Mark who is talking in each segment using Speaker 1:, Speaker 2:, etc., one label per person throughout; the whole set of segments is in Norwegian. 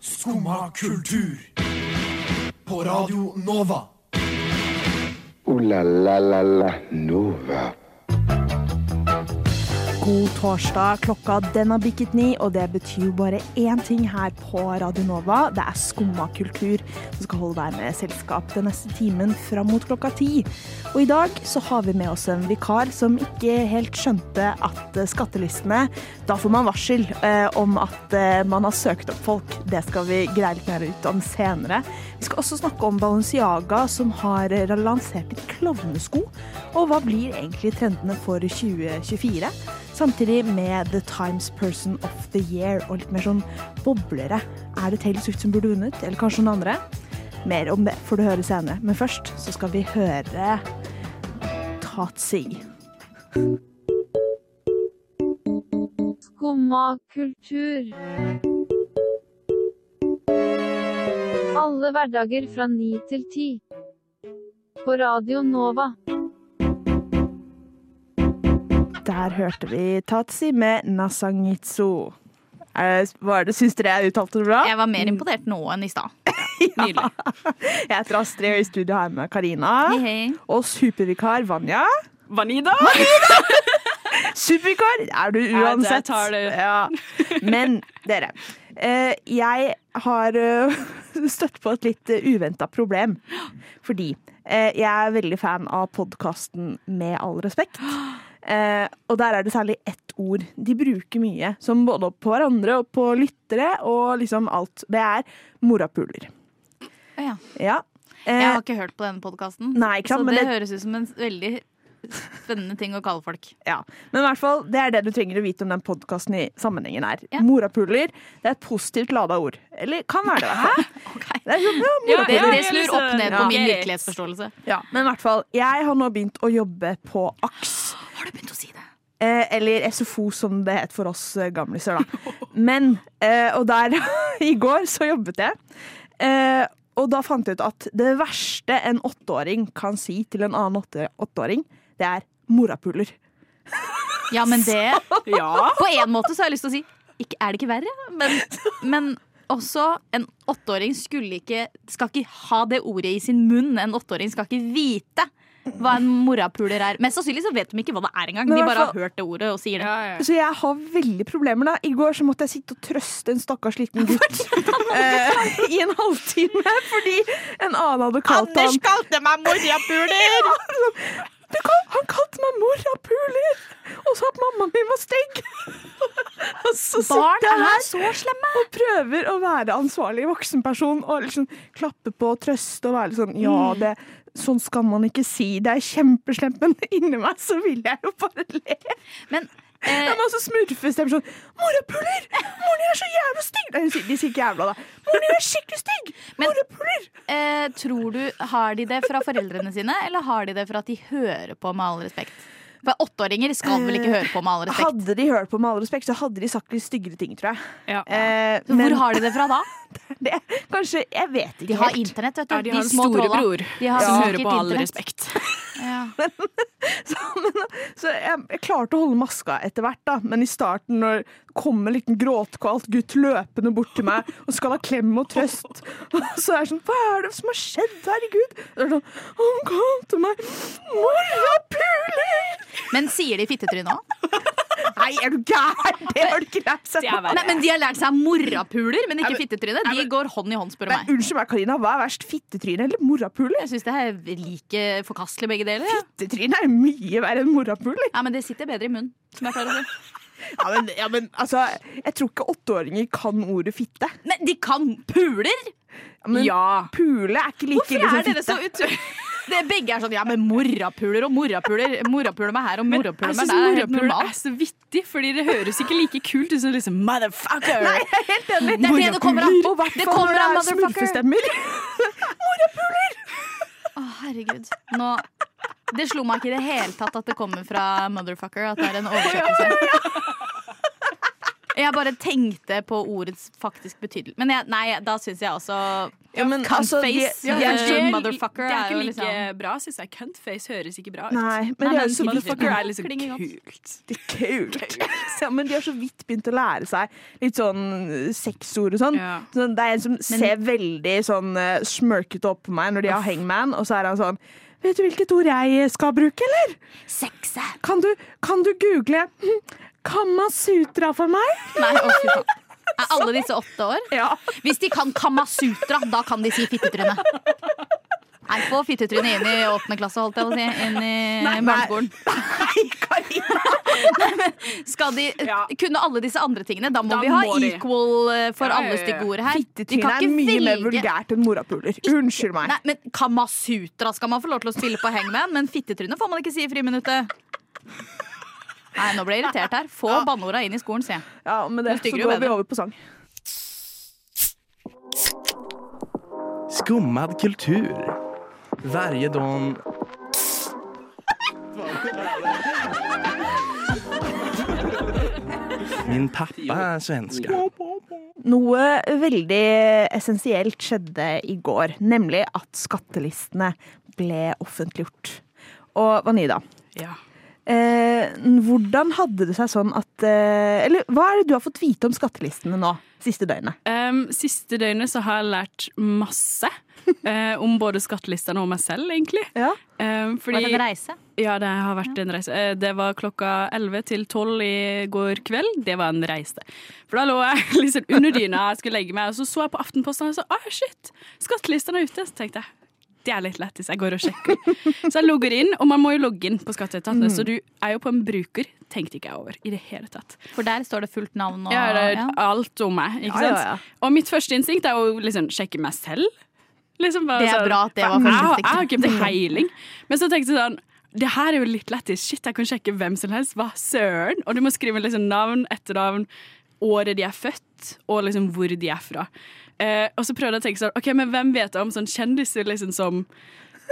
Speaker 1: Skumma kultur. På Radio Nova.
Speaker 2: Ooh la la la la Nova.
Speaker 3: God torsdag. Klokka den har bikket ni, og det betyr jo bare én ting her på Radio Nova. Det er Skumma kultur som skal holde deg med selskap den neste timen fram mot klokka ti. Og i dag så har vi med oss en vikar som ikke helt skjønte at eh, skattelistene Da får man varsel eh, om at eh, man har søkt opp folk. Det skal vi greie litt mer ut om senere. Vi skal også snakke om Balenciaga, som har eh, lansert litt klovnesko. Og hva blir egentlig trendene for 2024? Samtidig med The Times Person of the Year og litt mer sånn boblere. Er det Taylor Swift som burde vunnet, eller kanskje noen andre? Mer om det får du høre senere, men først så skal vi høre Tatsi.
Speaker 4: Skumma kultur. Alle hverdager fra 9 til 10. På Radio Nova.
Speaker 3: Der hørte vi Tatsi med Nasangitsu. Er det- Hva er det, syns dere jeg uttalte det bra?
Speaker 5: Jeg var mer imponert nå enn i stad. Nydelig.
Speaker 3: Jeg heter Astrid, og i studio har jeg med Karina.
Speaker 5: Hei, hei.
Speaker 3: Og supervikar Vanja.
Speaker 6: Vanida?
Speaker 3: Superkar er du
Speaker 6: det- jeg
Speaker 3: uansett.
Speaker 6: tar det.
Speaker 3: Ja. Men dere, eh, jeg har eh, støtt på et litt uventa problem. Fordi eh, jeg er veldig fan av podkasten Med all respekt. Eh, og der er det særlig ett ord de bruker mye, som både på hverandre og på lyttere og liksom alt. Det er morapuler.
Speaker 5: Å ja.
Speaker 3: Ja.
Speaker 5: Jeg
Speaker 3: Eh,
Speaker 5: har ikke hørt på denne podkasten,
Speaker 3: Nei, ikke
Speaker 5: så
Speaker 3: sant,
Speaker 5: det,
Speaker 3: men det-
Speaker 5: høres ut som en veldig spennende ting å kalle folk.
Speaker 3: Ja, Men i hvert fall, det er det du trenger å vite om den podkasten i sammenhengen her.
Speaker 5: Ja.
Speaker 3: Morapuler det er et positivt lada ord. Eller kan være det. i hvert fall. Det er sånn, ja,
Speaker 5: Det,
Speaker 3: morapuler.
Speaker 5: det slur opp ned på
Speaker 3: Ja.
Speaker 5: min
Speaker 6: Yes.
Speaker 5: virkelighetsforståelse.
Speaker 3: Ja, men i hvert fall, jeg har nå begynt å jobbe på AKS.
Speaker 5: Har du begynt å si det?
Speaker 3: Eh, eller SFO, som det het for oss eh, gamliser, da. Men eh, Og der I går så jobbet jeg. Eh, og da fant jeg ut at det verste en åtteåring kan si til en annen åtte- åtteåring, det er morapuler.
Speaker 5: Ja, men det
Speaker 6: Ja.
Speaker 5: På en måte så har jeg lyst til å si ikke, Er det ikke verre? Men, men også en åtteåring skulle ikke Skal ikke ha det ordet i sin munn. En åtteåring skal ikke vite hva en morapuler er. Mest sannsynlig så vet de ikke hva det er engang.
Speaker 3: Men
Speaker 5: De
Speaker 3: i
Speaker 5: bare
Speaker 3: hvert
Speaker 5: har hørt det ordet og sier det.
Speaker 3: Så jeg har veldig problemer da. I går så måtte jeg sitte og trøste en stakkars liten gutt eh, i en halvtime fordi en annen hadde kalt ham
Speaker 6: kalte meg morapuler!
Speaker 3: Du kan- Han kalte meg morapuler! Og sa at mammaen min var stygg! Og så
Speaker 5: Barn
Speaker 3: sitter jeg
Speaker 5: er
Speaker 3: her
Speaker 5: så slemme!
Speaker 3: og prøver å være ansvarlig voksenperson og liksom klappe på og trøste og være litt sånn Ja,
Speaker 5: Mm.
Speaker 3: det, sånn skal man ikke si. Det er kjempeslemt, men inni meg så vil jeg jo bare le.
Speaker 5: Men eh,
Speaker 3: Det er masse smurfestemmer sånn Morapuler! Moren din er så jævla stygg! Nei, hun sier- de sier ikke jævla, da. Moren din er skikkelig stygg!
Speaker 5: Men-
Speaker 3: Morapuler!
Speaker 5: Eh, tror du, Har de det fra foreldrene sine, eller har de det for at de hører på Med all respekt? For Åtteåringer skal vel ikke høre på Med
Speaker 6: Eh,
Speaker 5: all respekt?
Speaker 3: Hadde de hørt på Med all respekt, så hadde de sagt litt styggere ting, tror jeg.
Speaker 6: Ja.
Speaker 3: Eh,
Speaker 5: Så
Speaker 3: men
Speaker 5: Hvor har de det fra da?
Speaker 3: det, kanskje Jeg vet ikke
Speaker 5: De har
Speaker 3: helt.
Speaker 5: internett, vet du.
Speaker 6: Ja, de har en
Speaker 5: små trolla.
Speaker 6: storebror
Speaker 5: De har
Speaker 6: som
Speaker 5: sikkert
Speaker 6: hører på all
Speaker 5: internett.
Speaker 6: respekt.
Speaker 5: Ja.
Speaker 3: Så jeg, jeg klarte å holde maska etter hvert, da. Men i starten, når det kom en liten gråtkvalt gutt løpende bort til meg og skal ha klem og trøst, og så er jeg sånn Hva er det som har skjedd? Herregud. Og det er sånn, Han kalte meg morapuler!
Speaker 5: Men sier de fittetryne òg?
Speaker 3: Nei, er du gæren? Det har du ikke lært seg.
Speaker 6: Det er verre.
Speaker 5: Men de har lært seg morapuler, men ikke fittetryne.
Speaker 3: Nei,
Speaker 5: De
Speaker 3: men-
Speaker 5: går hånd i hånd, spør du
Speaker 3: Men
Speaker 5: meg.
Speaker 3: unnskyld meg, Karina. Hva er verst? Fittetryne eller morapuler?
Speaker 5: Jeg syns det er like forkastelig, begge deler. Ja.
Speaker 3: Fittetryne er jo mye verre enn morapuler.
Speaker 5: Ja, men det sitter bedre i munnen. Som jeg klarer å si.
Speaker 3: Ja, men, ja, men altså, jeg tror ikke åtteåringer kan ordet fitte.
Speaker 5: Men de kan puler!
Speaker 3: Men
Speaker 6: Ja.
Speaker 3: pule er ikke like
Speaker 5: Hvorfor
Speaker 6: sånn
Speaker 5: er dere så utur... Det, begge er sånn ja, men morapuler og morapuler. Morapuler meg her og morapuler
Speaker 6: Jeg
Speaker 5: meg
Speaker 6: syns
Speaker 5: der. Det er helt
Speaker 6: altså, sånn morapuler er
Speaker 5: normalt.
Speaker 6: så vittig, fordi det høres ikke like kult ut som liksom motherfucker. Nei,
Speaker 5: Det er det det kommer an på.
Speaker 3: Og hvert
Speaker 5: Det
Speaker 3: fall når
Speaker 5: kommer
Speaker 3: det er
Speaker 5: av motherfucker.
Speaker 3: smurfestemmer.
Speaker 5: Å, herregud. Nå, det slo meg ikke i det hele tatt at det kommer fra motherfucker. At det er en oversettelse. Jeg bare tenkte på ordets faktisk betydelse. Men jeg, nei, da syns jeg også
Speaker 3: Ja, men altså, de-
Speaker 5: Cuntface.
Speaker 3: de er
Speaker 5: eh,
Speaker 3: ikke- de
Speaker 5: motherfucker
Speaker 6: det er
Speaker 5: er
Speaker 6: ikke
Speaker 5: jo
Speaker 6: like
Speaker 5: liksom
Speaker 6: bra, syns jeg. Cuntface høres ikke bra ut.
Speaker 3: Nei, men
Speaker 5: Nei,
Speaker 3: de er
Speaker 5: men
Speaker 3: jo så vidt
Speaker 6: Motherfucker er liksom
Speaker 5: Klinger godt.
Speaker 6: kult.
Speaker 3: Det er kult. Ja, men de har så vidt begynt å lære seg litt sånn sexord og sånn.
Speaker 6: Ja.
Speaker 3: Så det er en som ser veldig sånn eh, smørkete opp på meg når de har hangman, og så er han sånn Vet du hvilket ord jeg eh, skal bruke, eller?
Speaker 5: Sexe!
Speaker 3: Kan du, kan du google hm, Kamasutra for meg?
Speaker 5: Nei, å, fy faen. Er alle disse åtte år?
Speaker 3: Ja.
Speaker 5: Hvis de kan Kamasutra, da kan de si fittetryne. Nei, få fittetryne inn i åttende klasse, holdt jeg på å si. Inn i barneskolen.
Speaker 3: Nei, Karina!
Speaker 5: Skal de
Speaker 6: Ja.
Speaker 5: kunne alle disse andre tingene? Da må
Speaker 6: Da
Speaker 5: vi ha
Speaker 6: må de.
Speaker 5: equal eh, for
Speaker 6: Ja, ja,
Speaker 5: alle
Speaker 6: ja.
Speaker 5: stygge ord her. De
Speaker 3: Fittetryne er mye mer vulgært enn morapuler. Unnskyld meg.
Speaker 5: Nei, men Kamasutra skal man få lov til å spille på hangman, men fittetryne får man ikke si i friminuttet. Nei, nå ble jeg irritert her. Få banneorda inn i skolen, sier jeg.
Speaker 3: Ja, Med det
Speaker 5: Jo
Speaker 3: så
Speaker 5: styggere, jo
Speaker 3: går vi
Speaker 5: bedre.
Speaker 3: over på sang.
Speaker 7: Skummad kultur. Varje dag Min pappa er svenska.
Speaker 3: Noe veldig essensielt skjedde i går, nemlig at skattelistene ble offentliggjort. Og Vanida,
Speaker 6: Ja.
Speaker 3: eh, hvordan hadde det seg sånn at eh, Eller hva er det du har fått vite om skattelistene nå, siste døgnet?
Speaker 6: Um, siste døgnet så har jeg lært masse eh, om både skattelistene og meg selv, egentlig.
Speaker 3: Ja.
Speaker 6: Um, fordi,
Speaker 5: Var det en reise?
Speaker 6: Ja, det har vært en reise. Eh, Det var klokka 11 til 12 i går kveld. Det var en reise. For da lå jeg liksom under dyna, jeg skulle legge meg, og så så jeg på Aftenposten og så ah, shit, skattelistene er ute. Så tenkte jeg det er litt lættis, jeg går og sjekker. Så jeg logger inn, og man må jo logge inn på Skatteetaten, så du er jo på en bruker, tenkte ikke jeg over i det hele tatt.
Speaker 5: For der står det fullt navn og
Speaker 6: Ja, det er
Speaker 5: ja.
Speaker 6: alt om meg, ikke
Speaker 3: Ja,
Speaker 6: sant?
Speaker 3: ja, ja.
Speaker 6: Og mitt første instinkt er å liksom sjekke meg selv. Liksom bare
Speaker 5: Det er
Speaker 6: sånn,
Speaker 5: bra at det var
Speaker 6: "Hva-
Speaker 5: første
Speaker 6: Jeg, har- jeg har ikke peiling. Men så tenkte jeg sånn det her er jo litt lættis. Shit, jeg kan sjekke hvem som helst. Hva søren? Og du må skrive liksom navn, etternavn, året de er født, og liksom hvor de er fra. Eh, og så prøvde jeg å tenke sånn OK, men hvem vet jeg om sånn kjendiser liksom som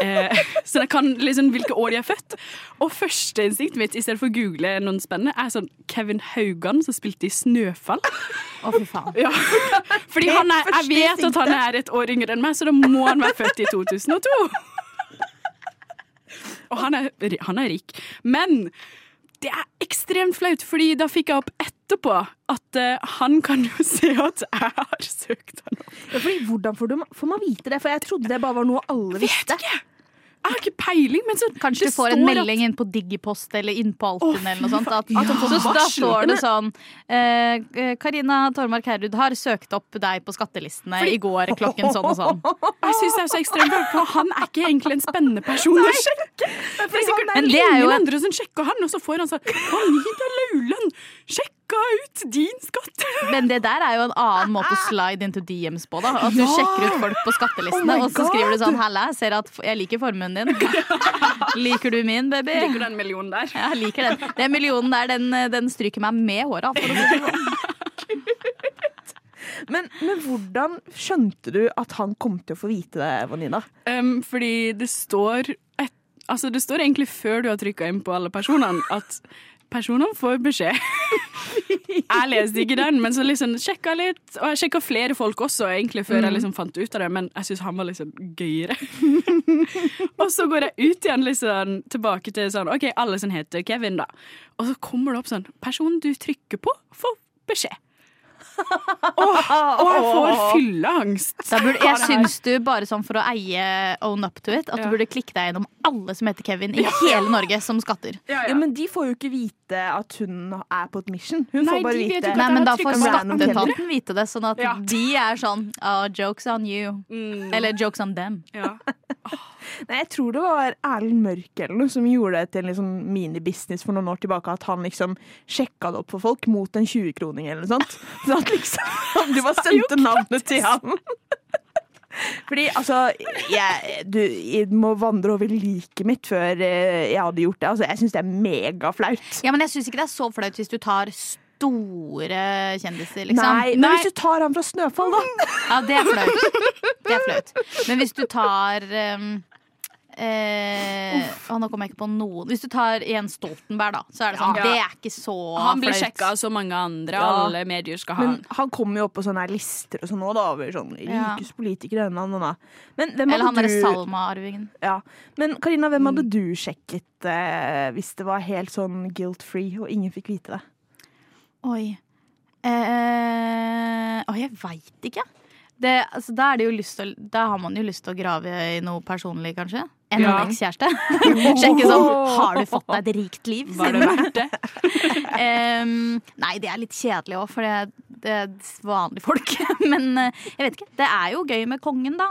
Speaker 6: Eh, så jeg kan liksom hvilke år de er født. Og førsteinstinktet mitt i stedet for å google noen spennende, er sånn Kevin Haugan som spilte i Snøfall.
Speaker 5: Å, fy faen.
Speaker 6: Ja. Fordi han er, jeg
Speaker 3: første
Speaker 6: vet at han er et år yngre enn meg, så da må han være født i 2002. Og han er, ri- han er rik. Men det er ekstremt flaut, fordi da fikk jeg opp etterpå at eh, han kan jo se at jeg har søkt han opp.
Speaker 3: Ja, fordi, hvordan får, du, får man vite det? For jeg trodde det bare var noe alle visste.
Speaker 6: Jeg har ikke peiling, men så
Speaker 5: Kanskje
Speaker 6: det
Speaker 5: du får en
Speaker 6: står at-
Speaker 5: melding inn på Digipost eller inn på Altinn eller noe sånt. At,
Speaker 6: At han får
Speaker 5: så da
Speaker 6: varsel.
Speaker 5: står det sånn eh, eh, Karina Tormark Herrud har søkt opp deg på skattelistene i går klokken sånn og sånn.
Speaker 6: Jeg synes det er så ekstremt rart, for han er ikke egentlig en spennende person å sjekke. Det er sikkert
Speaker 5: Men det er jo
Speaker 6: ingen
Speaker 5: en-
Speaker 6: andre som sjekker han, og så får han sånn Anita Lauland, sjekka ut din skatt!
Speaker 5: Men det der er jo en annen måte å slide into DMs på. da At du sjekker ut folk på skattelistene,
Speaker 3: Oh my
Speaker 5: og så skriver du
Speaker 3: God.
Speaker 5: sånn Halla, jeg ser at f- jeg liker formuen din. Liker du min, baby?
Speaker 6: Ligger den millionen der?
Speaker 5: Ja, jeg liker den. Den millionen der, den, eh, den stryker meg med håra. For å si det sånn.
Speaker 3: Men, men hvordan skjønte du at han kom til å få vite det, Vanina?
Speaker 6: Um, fordi det står et, Altså, det står egentlig før du har trykka inn på alle personene, at personene får beskjed. Jeg leste ikke den, men så liksom sjekka litt. Og jeg sjekka flere folk også, egentlig, før jeg liksom fant ut av det, men jeg syns han var liksom gøyere. og så går jeg ut igjen, liksom, tilbake til sånn OK, alle som heter Kevin, da. Og så kommer det opp sånn Personen du trykker på, får beskjed. Åh,
Speaker 3: Ah.
Speaker 6: og jeg får fylleangst.
Speaker 5: Da burde,
Speaker 6: av
Speaker 5: jeg
Speaker 6: det her.
Speaker 5: syns du, bare sånn for å eie own up to it, at du
Speaker 6: Ja.
Speaker 5: burde klikke deg gjennom alle som heter Kevin i hele Norge, som skatter.
Speaker 6: Ja,
Speaker 3: Ja, Men de får jo ikke vite at hun er på et mission. Hun
Speaker 6: Nei,
Speaker 3: får bare
Speaker 6: de vet jo
Speaker 3: vite
Speaker 6: ikke
Speaker 5: Nei, men da
Speaker 6: har
Speaker 5: får
Speaker 3: trykket random
Speaker 5: skatteetaten vite det, sånn at
Speaker 6: Ja.
Speaker 5: de er sånn «Ah, Jokes on you.
Speaker 6: Mm.
Speaker 5: Eller jokes on them.
Speaker 6: Ja.
Speaker 3: Nei, jeg tror det var Erlend Mørk eller noe som gjorde det til en liksom minibusiness for noen år tilbake. At han liksom sjekka det opp for folk mot en 20-kroning eller noe sånt. Så at liksom Du bare sendte navnet til ham. Fordi altså jeg, Du jeg må vandre over liket mitt før eh, jeg hadde gjort det. Altså, jeg syns det er megaflaut.
Speaker 5: Ja, men jeg syns ikke det er så flaut hvis du tar store kjendiser, liksom.
Speaker 3: Nei, men
Speaker 6: Nei.
Speaker 3: hvis du tar ham fra Snøfall, da.
Speaker 5: Ja, det er flaut. Det er flaut. Men hvis du tar um, eh, Eh, og nå kommer jeg ikke på noen Hvis du tar Jens Stoltenberg, da, så er det sånn.
Speaker 6: Ja.
Speaker 5: Det er ikke så
Speaker 6: Han blir
Speaker 5: flaut.
Speaker 6: sjekka av så mange andre.
Speaker 3: Ja.
Speaker 6: Alle medier skal ha
Speaker 3: Men
Speaker 6: han.
Speaker 3: han kommer jo opp på sånne her lister og sånn nå, da, over sånn
Speaker 5: Ja.
Speaker 3: rikeste politikere. denne, denne, denne. Men hvem
Speaker 5: Eller han
Speaker 3: hadde
Speaker 5: derre
Speaker 3: du
Speaker 5: Salma-arvingen.
Speaker 3: ja. Men Karina, hvem
Speaker 6: Mm.
Speaker 3: hadde du sjekket eh, hvis det var helt sånn guilt-free og ingen fikk vite det?
Speaker 5: Oi. Eh, oi, jeg veit ikke. Det, altså, da, er det jo lyst til, å- da har man jo lyst til å grave i noe personlig, kanskje. Enn
Speaker 6: Ja.
Speaker 5: en ekskjæreste. Sjekke sånn Har du fått deg et rikt liv?
Speaker 6: Var det verdt det?
Speaker 5: Em, nei, det er litt kjedelig òg, for det, det er vanlige folk. Men eh, jeg vet ikke. Det er jo gøy med kongen, da.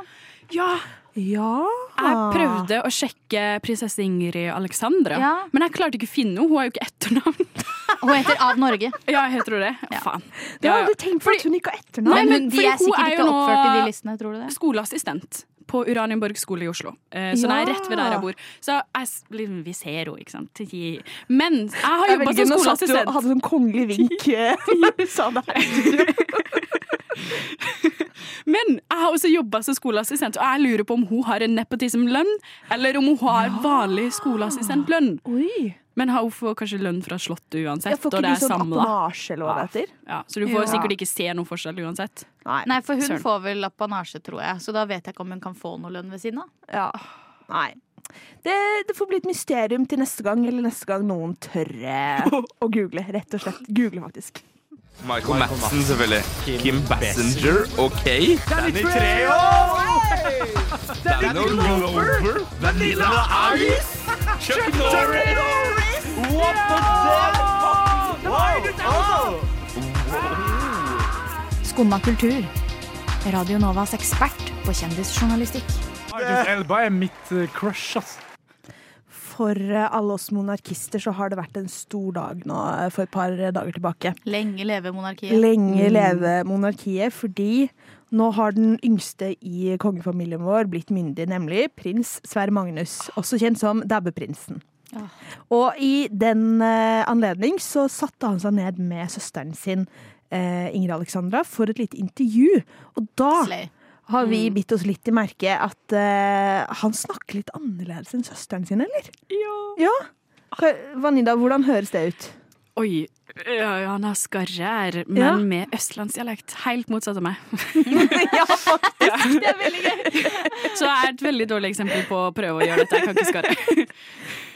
Speaker 6: Ja,
Speaker 3: Ja
Speaker 6: jeg
Speaker 3: Ah.
Speaker 6: prøvde å sjekke prinsesse Ingrid Alexandra,
Speaker 5: Ja.
Speaker 6: men jeg klarte ikke å finne henne. Hun har jo ikke etternavn.
Speaker 5: Hun heter Av Norge.
Speaker 6: Ja, jeg heter hun det. Å,
Speaker 5: Ja.
Speaker 6: Faen.
Speaker 3: Det
Speaker 6: Ja,
Speaker 3: hadde du tenkt på at hun ikke har etternavn.
Speaker 6: Nei,
Speaker 5: Men,
Speaker 6: men
Speaker 5: hun, de
Speaker 6: fordi
Speaker 5: er
Speaker 6: hun
Speaker 5: sikkert
Speaker 6: er jo
Speaker 5: ikke
Speaker 6: nå-
Speaker 5: oppført i de listene, tror du det?
Speaker 6: Skoleassistent på Uranienborg skole i Oslo. Eh, Så
Speaker 3: Ja.
Speaker 6: det er rett ved der jeg bor. Så jeg, s- liksom, vi ser henne, ikke sant. Hi. Men jeg har
Speaker 3: Jeg
Speaker 6: jobba
Speaker 3: velger-
Speaker 6: som
Speaker 3: nå satt du og
Speaker 6: skoleassistent.
Speaker 3: hadde sånn kongelig vink eh, når du sa det her.
Speaker 6: Men jeg har også jobba som skoleassistent, og jeg lurer på om hun har en nepotismlønn, eller om hun har vanlig skoleassistentlønn.
Speaker 3: Oi.
Speaker 6: Men hun får kanskje lønn fra Slottet uansett,
Speaker 3: Jeg får
Speaker 6: og
Speaker 3: ikke du
Speaker 6: det er
Speaker 3: sånn
Speaker 6: samla.
Speaker 3: apanasje eller hva det heter?
Speaker 6: Ja, så du får
Speaker 5: Ja.
Speaker 6: sikkert ikke se noen forskjell uansett.
Speaker 5: Nei, for hun
Speaker 6: Søren.
Speaker 5: får vel apanasje, tror jeg. Så da vet jeg ikke om hun kan få noe lønn ved siden av.
Speaker 3: Ja. Nei. Det, det får bli et mysterium til neste gang, eller neste gang noen tør eh, å google. Rett og slett. Google, faktisk.
Speaker 8: Michael Madsen, selvfølgelig. Kim Bassinger og Kay.
Speaker 1: Danny Treho!
Speaker 8: Dano Glover. Vanilla Ice. Chuck Norris.
Speaker 1: What the fuck?
Speaker 5: Skumma kultur. Radio Novas ekspert på kjendisjournalistikk.
Speaker 9: Idris Elba er mitt eh, crush, ass.
Speaker 3: For eh, alle oss monarkister så har det vært en stor dag nå eh, for et par eh, dager tilbake.
Speaker 5: Lenge leve monarkiet.
Speaker 3: Lenge leve monarkiet, fordi nå har den yngste i kongefamilien vår blitt myndig, nemlig prins Sverre Magnus, også kjent som Dabbeprinsen.
Speaker 5: Ah.
Speaker 3: Og i den eh, anledning så satte han seg ned med søsteren sin, eh, Ingrid Alexandra, for et lite intervju. Og da
Speaker 5: Slay.
Speaker 3: har vi bitt oss litt i merket at eh, han snakker litt annerledes enn søsteren sin, eller? Ja. Hva- Vanida, hvordan høres det ut?
Speaker 6: Oi, ja, han har skarrer, men
Speaker 3: Ja.
Speaker 6: med østlandsdialekt. Helt motsatt av meg.
Speaker 3: ja, faktisk. Det er veldig gøy.
Speaker 6: Så jeg er et veldig dårlig eksempel på å prøve å gjøre dette. Jeg kan ikke skarre.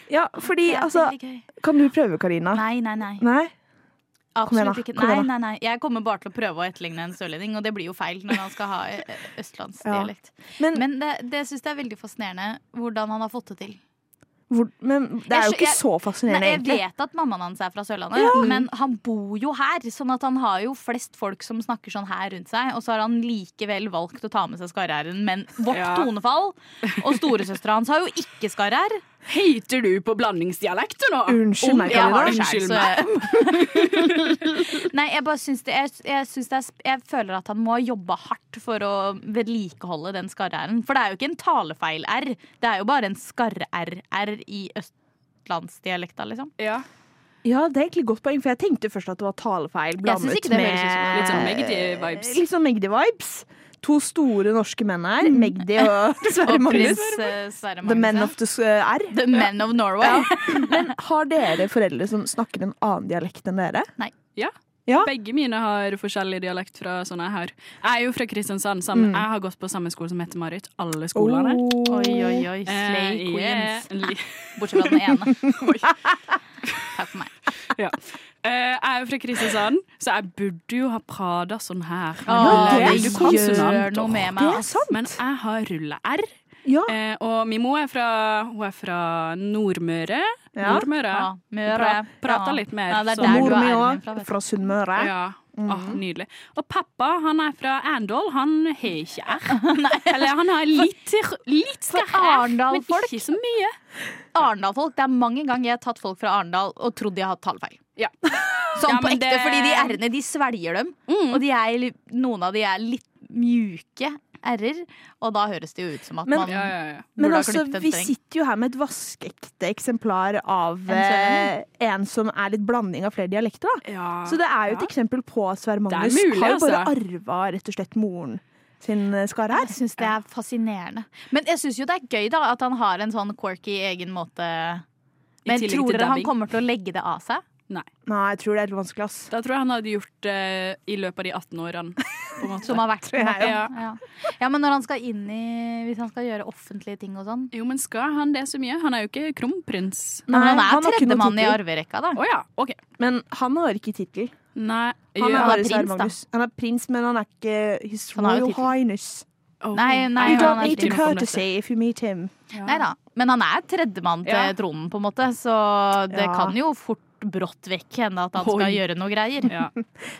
Speaker 3: Ja, fordi
Speaker 5: Det er
Speaker 3: altså
Speaker 5: veldig gøy.
Speaker 3: Kan du prøve, Karina?
Speaker 5: Nei, nei, nei.
Speaker 3: Nei? igjen, da.
Speaker 5: Absolutt ikke.
Speaker 3: Kom
Speaker 5: Nei,
Speaker 3: igjen,
Speaker 5: nei, nei. Jeg kommer bare til å prøve å etterligne en sørlending, og det blir jo feil når han skal ha ø- ø- østlandsdialekt.
Speaker 3: Men, men,
Speaker 5: Men det, det syns jeg er veldig fascinerende hvordan han har fått det til.
Speaker 3: hvor, men det er
Speaker 5: Jeg
Speaker 3: jo
Speaker 5: skjø-
Speaker 3: ikke
Speaker 5: jeg-
Speaker 3: så fascinerende,
Speaker 5: Nei, jeg
Speaker 3: egentlig.
Speaker 5: vet at mammaen hans er fra Sørlandet, men han bor jo her. Sånn at han har jo flest folk som snakker sånn her rundt seg. Og så har han likevel valgt å ta med seg skarre-r-en. Men vårt
Speaker 6: Ja.
Speaker 5: tonefall og storesøstera hans har jo ikke skarre-r.
Speaker 6: Hater du på blandingsdialekt du, nå?
Speaker 3: Unnskyld meg,
Speaker 5: Jeg har det
Speaker 3: Karina.
Speaker 5: selv,
Speaker 6: Unnskyld
Speaker 5: så Nei, jeg bare syns det jeg, jeg, syns det er, sp- jeg føler at han må ha jobba hardt for å vedlikeholde den skarre-r-en. For det er jo ikke en talefeil-r. Det er jo bare en skarre-r-r i østlandsdialekta, liksom.
Speaker 6: Ja.
Speaker 3: Ja, det er egentlig et godt poeng, for jeg tenkte først at det var talefeil
Speaker 5: Jeg synes
Speaker 3: blandet
Speaker 5: ikke det
Speaker 3: med
Speaker 5: høres ut som-
Speaker 6: litt sånn Magdi-vibes.
Speaker 3: Litt sånn Magdi-vibes. To store norske menn her. Magdi og Sverre
Speaker 5: Mm. Og prins
Speaker 3: Magnus.
Speaker 5: eh, Sverre
Speaker 3: The men
Speaker 5: Magnus.
Speaker 3: of the uh, R.
Speaker 5: The men of Norway.
Speaker 3: Men har dere foreldre som snakker en annen dialekt enn dere?
Speaker 6: ja.
Speaker 3: Ja.
Speaker 6: Begge mine har forskjellig dialekt fra sånn jeg har. Jeg er jo fra Kristiansand.
Speaker 3: Mm.
Speaker 6: Sammen. Jeg har gått på samme skole som Mette-Marit. Alle skolene.
Speaker 3: Oh.
Speaker 5: Oi, oi, oi. Slay
Speaker 6: Eh,
Speaker 5: queens.
Speaker 6: yeah.
Speaker 5: Bortsett fra den ene. Takk for meg.
Speaker 6: Ja. Eh, jeg er jo fra Kristiansand, så jeg burde jo ha Prada sånn her.
Speaker 3: Åh,
Speaker 6: Men
Speaker 3: Ah, det
Speaker 6: veldig
Speaker 3: er
Speaker 5: gjør
Speaker 6: konsonant,
Speaker 5: noe med
Speaker 6: åh.
Speaker 5: meg. altså.
Speaker 3: Det er
Speaker 5: ass.
Speaker 3: sant.
Speaker 6: Men jeg har rulle-r.
Speaker 3: Ja.
Speaker 6: Eh, og min mor er fra, hun er fra Nordmøre.
Speaker 3: Ja.
Speaker 6: Nordmøre.
Speaker 5: Ja, Ah. Møre.
Speaker 6: Pra, prata
Speaker 5: Ja.
Speaker 6: litt mer.
Speaker 5: Ja, det er
Speaker 6: sånn.
Speaker 5: der du
Speaker 3: Mor mi
Speaker 5: er min
Speaker 3: òg,
Speaker 5: fra, vet du.
Speaker 3: fra Sunnmøre.
Speaker 6: Ja.
Speaker 5: Mhm.
Speaker 6: Åh, nydelig. Og pappa han er fra Arendal. Han har ikke r. Eller han har litt, litt sterk r, men
Speaker 5: Arendal-folk.
Speaker 6: ikke så mye.
Speaker 5: Arendal-folk. Det er mange ganger jeg har tatt folk fra Arendal og trodd de har hatt tallfeil.
Speaker 6: Ja.
Speaker 5: Sånn
Speaker 6: Ja,
Speaker 5: på
Speaker 6: men
Speaker 5: ekte,
Speaker 6: det-
Speaker 5: fordi de r-ene, de svelger dem.
Speaker 3: Mm.
Speaker 5: Og de er, li- noen av de er litt mjuke r-er, og da høres det jo ut som at
Speaker 3: Men-
Speaker 5: man
Speaker 6: Ja, ja, ja.
Speaker 3: Men
Speaker 5: burde ha
Speaker 3: altså,
Speaker 5: klippet en
Speaker 3: vi
Speaker 5: streng.
Speaker 3: sitter jo her med et vaskeekte eksemplar av
Speaker 5: En
Speaker 3: eh,
Speaker 5: sørlending?
Speaker 3: en som er litt blanding av flere dialekter. da.
Speaker 6: Ja.
Speaker 3: Så det er jo et
Speaker 6: Ja.
Speaker 3: eksempel på at Sverre Magnus
Speaker 6: mulig,
Speaker 3: har jo bare
Speaker 6: altså.
Speaker 3: arva rett og slett moren sin eh, skare her.
Speaker 5: Jeg syns det er fascinerende. Men jeg syns jo det er gøy da at han har en sånn quirky egen måte. Men
Speaker 6: tillegg
Speaker 5: tror
Speaker 6: til
Speaker 5: dere han
Speaker 6: dabbing.
Speaker 5: kommer til å legge det av seg?
Speaker 3: Nei, jeg tror det er litt vanskelig, ass.
Speaker 6: Da tror jeg han hadde gjort det i løpet av de 18 årene. På en måte.
Speaker 5: Som har vært
Speaker 3: Tror jeg,
Speaker 5: ja. Ja. ja, men når han skal inn i Hvis han skal gjøre offentlige ting og sånn.
Speaker 6: Jo, men skal han det så mye? Han er jo ikke kronprins.
Speaker 5: Nei, men han
Speaker 3: Nei, han
Speaker 5: er
Speaker 3: har ikke noe
Speaker 5: tredjemann i
Speaker 3: tittel.
Speaker 5: arverekka, da.
Speaker 6: Å ja, OK.
Speaker 3: Men han har ikke tittel.
Speaker 6: Nei,
Speaker 3: Han er
Speaker 5: han
Speaker 3: bare
Speaker 5: er
Speaker 3: Sverre
Speaker 5: prins, da.
Speaker 3: Magnus. Han er prins, men han er ikke His
Speaker 5: Han har jo
Speaker 3: Royal
Speaker 5: tittel.
Speaker 3: Highness.
Speaker 6: oh.
Speaker 5: Nei, nei,
Speaker 3: You
Speaker 5: han
Speaker 3: don't
Speaker 5: er
Speaker 3: need to
Speaker 5: prins.
Speaker 6: ikke noe
Speaker 3: courtesy if you meet him.
Speaker 5: Nei da. Men han er tredjemann til
Speaker 6: Ja.
Speaker 5: tronen, på en måte, så det
Speaker 3: Ja.
Speaker 5: kan jo fort brått vekk hende at han skal
Speaker 6: Oi.
Speaker 5: gjøre noe greier.
Speaker 6: Ja.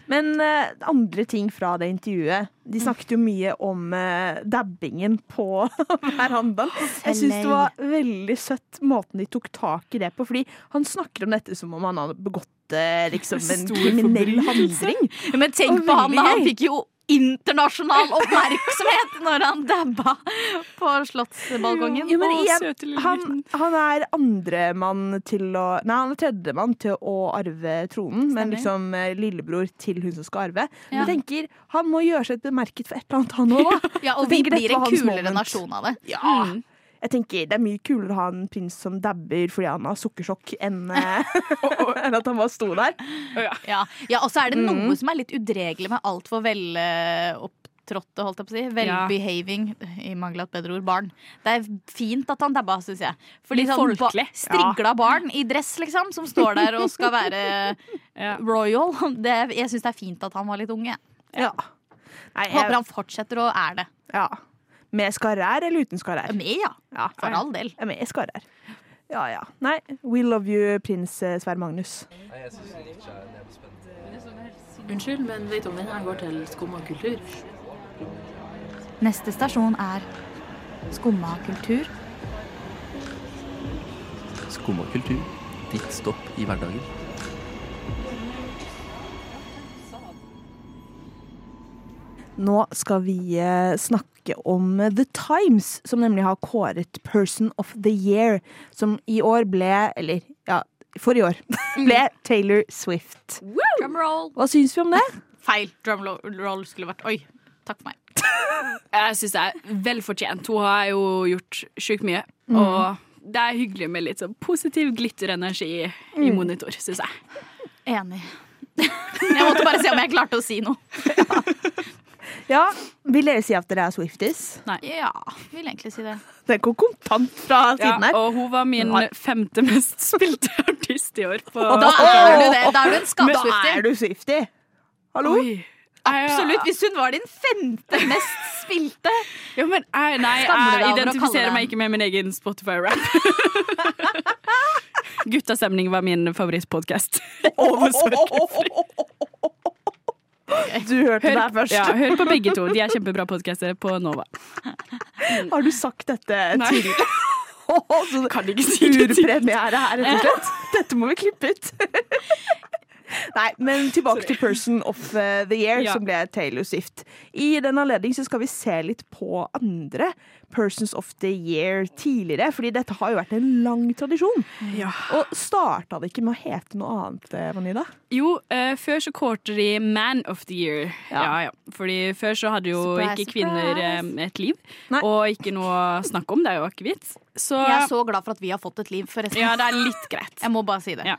Speaker 3: Men eh, andre ting fra det intervjuet. De snakket jo mye om eh, dabbingen på verandaen. Jeg syns det var veldig søtt måten de tok tak i det på, fordi han snakker om dette som om han hadde begått eh, liksom, en
Speaker 6: Stor
Speaker 3: kriminell
Speaker 6: forbrytelse.
Speaker 3: handling.
Speaker 5: Men tenk
Speaker 3: Og
Speaker 5: på han,
Speaker 3: veldig
Speaker 5: da. Han
Speaker 3: gøy.
Speaker 5: fikk jo internasjonal oppmerksomhet når han dabba på slottsbalkongen.
Speaker 3: Jo, men
Speaker 6: Å,
Speaker 3: igjen,
Speaker 6: søte lille
Speaker 3: Han, han er andremann til å Nei, han er tredjemann til å arve tronen, men liksom eh, lillebror til hun som skal arve. Men
Speaker 5: Ja.
Speaker 3: jeg tenker, han må gjøre seg bemerket for et eller annet, han òg.
Speaker 5: Ja,
Speaker 3: Jeg
Speaker 5: og vi
Speaker 3: tenker dette
Speaker 5: blir en
Speaker 3: var hans
Speaker 5: kulere
Speaker 3: moment.
Speaker 5: nasjon av det.
Speaker 6: Mm.
Speaker 3: Jeg tenker Det er mye kulere å ha en prins som dabber fordi han har sukkersjokk, enn, eh, enn at han bare sto der.
Speaker 5: Ja, ja og så er det
Speaker 3: Mm.
Speaker 5: noe som er litt udregelig med altfor velopptrådte, holdt jeg på å si.
Speaker 6: Ja.
Speaker 5: Velbehaving, i mangel av et bedre ord, barn. Det er fint at han dabba, syns jeg. Fordi
Speaker 6: Litt
Speaker 5: sånn ba-
Speaker 6: folkelig.
Speaker 5: strigla barn i dress, liksom, som står der og skal være
Speaker 6: Ja.
Speaker 5: royal. Det, jeg syns det er fint at han var litt unge.
Speaker 3: Ja. Nei, jeg,
Speaker 5: Håper han fortsetter og er det.
Speaker 3: ja. Med skarrær eller uten skarrær?
Speaker 5: Med, ja.
Speaker 3: Ja,
Speaker 5: For all del.
Speaker 3: Ja, med skarrær. Ja ja. Nei, we love you, prins eh, Sverre Magnus.
Speaker 10: Unnskyld, men vet om denne går til skum og kultur?
Speaker 5: Neste stasjon er Skumma kultur.
Speaker 7: Skum og kultur. Ditt stopp i hverdagen.
Speaker 3: Nå skal vi eh, snakke om eh, The Times, som nemlig har kåret Person of the Year, som i år ble Eller, ja, forrige år ble Taylor Swift.
Speaker 5: Drumroll.
Speaker 3: Hva syns vi om det?
Speaker 5: Feil. Drumroll skulle vært Oi, takk for meg.
Speaker 6: Jeg syns det er velfortjent. Hun har jo gjort sjukt mye. Og det er hyggelig med litt sånn positiv glitterenergi i monitor, syns jeg.
Speaker 5: Enig. Jeg måtte bare se om jeg klarte å si noe.
Speaker 3: Ja, Vil dere si at dere er Swifties?
Speaker 5: Ja, vil egentlig si det.
Speaker 3: Det kom kontant fra
Speaker 6: Ja,
Speaker 3: siden her.
Speaker 6: og hun var min
Speaker 3: Nei.
Speaker 6: femte mest spilte artist i år på
Speaker 5: Da er du det. Da er
Speaker 3: Men da
Speaker 5: du en
Speaker 3: er
Speaker 5: skapsvifter.
Speaker 3: du Swifty! Hallo?
Speaker 6: Oi.
Speaker 5: Absolutt. Hvis hun var din femte mest spilte
Speaker 6: Ja, men jeg, nei,
Speaker 5: Skammer du
Speaker 6: jeg
Speaker 5: deg over å kalle
Speaker 6: identifiserer
Speaker 5: den?
Speaker 6: meg ikke med min egen Spotify-rap. Guttastemning var min favorittpodkast.
Speaker 3: Du hørte det her først.
Speaker 6: Ja, hør på begge to. De er kjempebra podkaster på Nova.
Speaker 3: Har du sagt dette
Speaker 6: Nei.
Speaker 3: til Så
Speaker 6: Kan ikke si det til-
Speaker 3: Urpremiere her, rett og slett. Dette må vi klippe ut. Nei, men tilbake til Person of eh, the Year,
Speaker 6: Ja.
Speaker 3: som ble Taylor Swift. I den anledning så skal vi se litt på andre Persons of the Year tidligere, fordi dette har jo vært en lang tradisjon.
Speaker 6: Ja.
Speaker 3: Og starta det ikke med å hete noe annet, eh, Vanida?
Speaker 6: Jo, eh, før så kårte de Man of the Year.
Speaker 3: Ja.
Speaker 6: Ja. Ja, Fordi før så hadde jo
Speaker 5: Surprise,
Speaker 6: ikke kvinner
Speaker 5: surprise.
Speaker 6: eh, et liv,
Speaker 3: Nei.
Speaker 6: og ikke noe å snakke om. Det er jo akevitt. Så
Speaker 5: Jeg er så glad for at vi har fått et liv, forresten.
Speaker 6: ja, det er litt greit.
Speaker 5: Jeg må bare si det.
Speaker 6: Ja.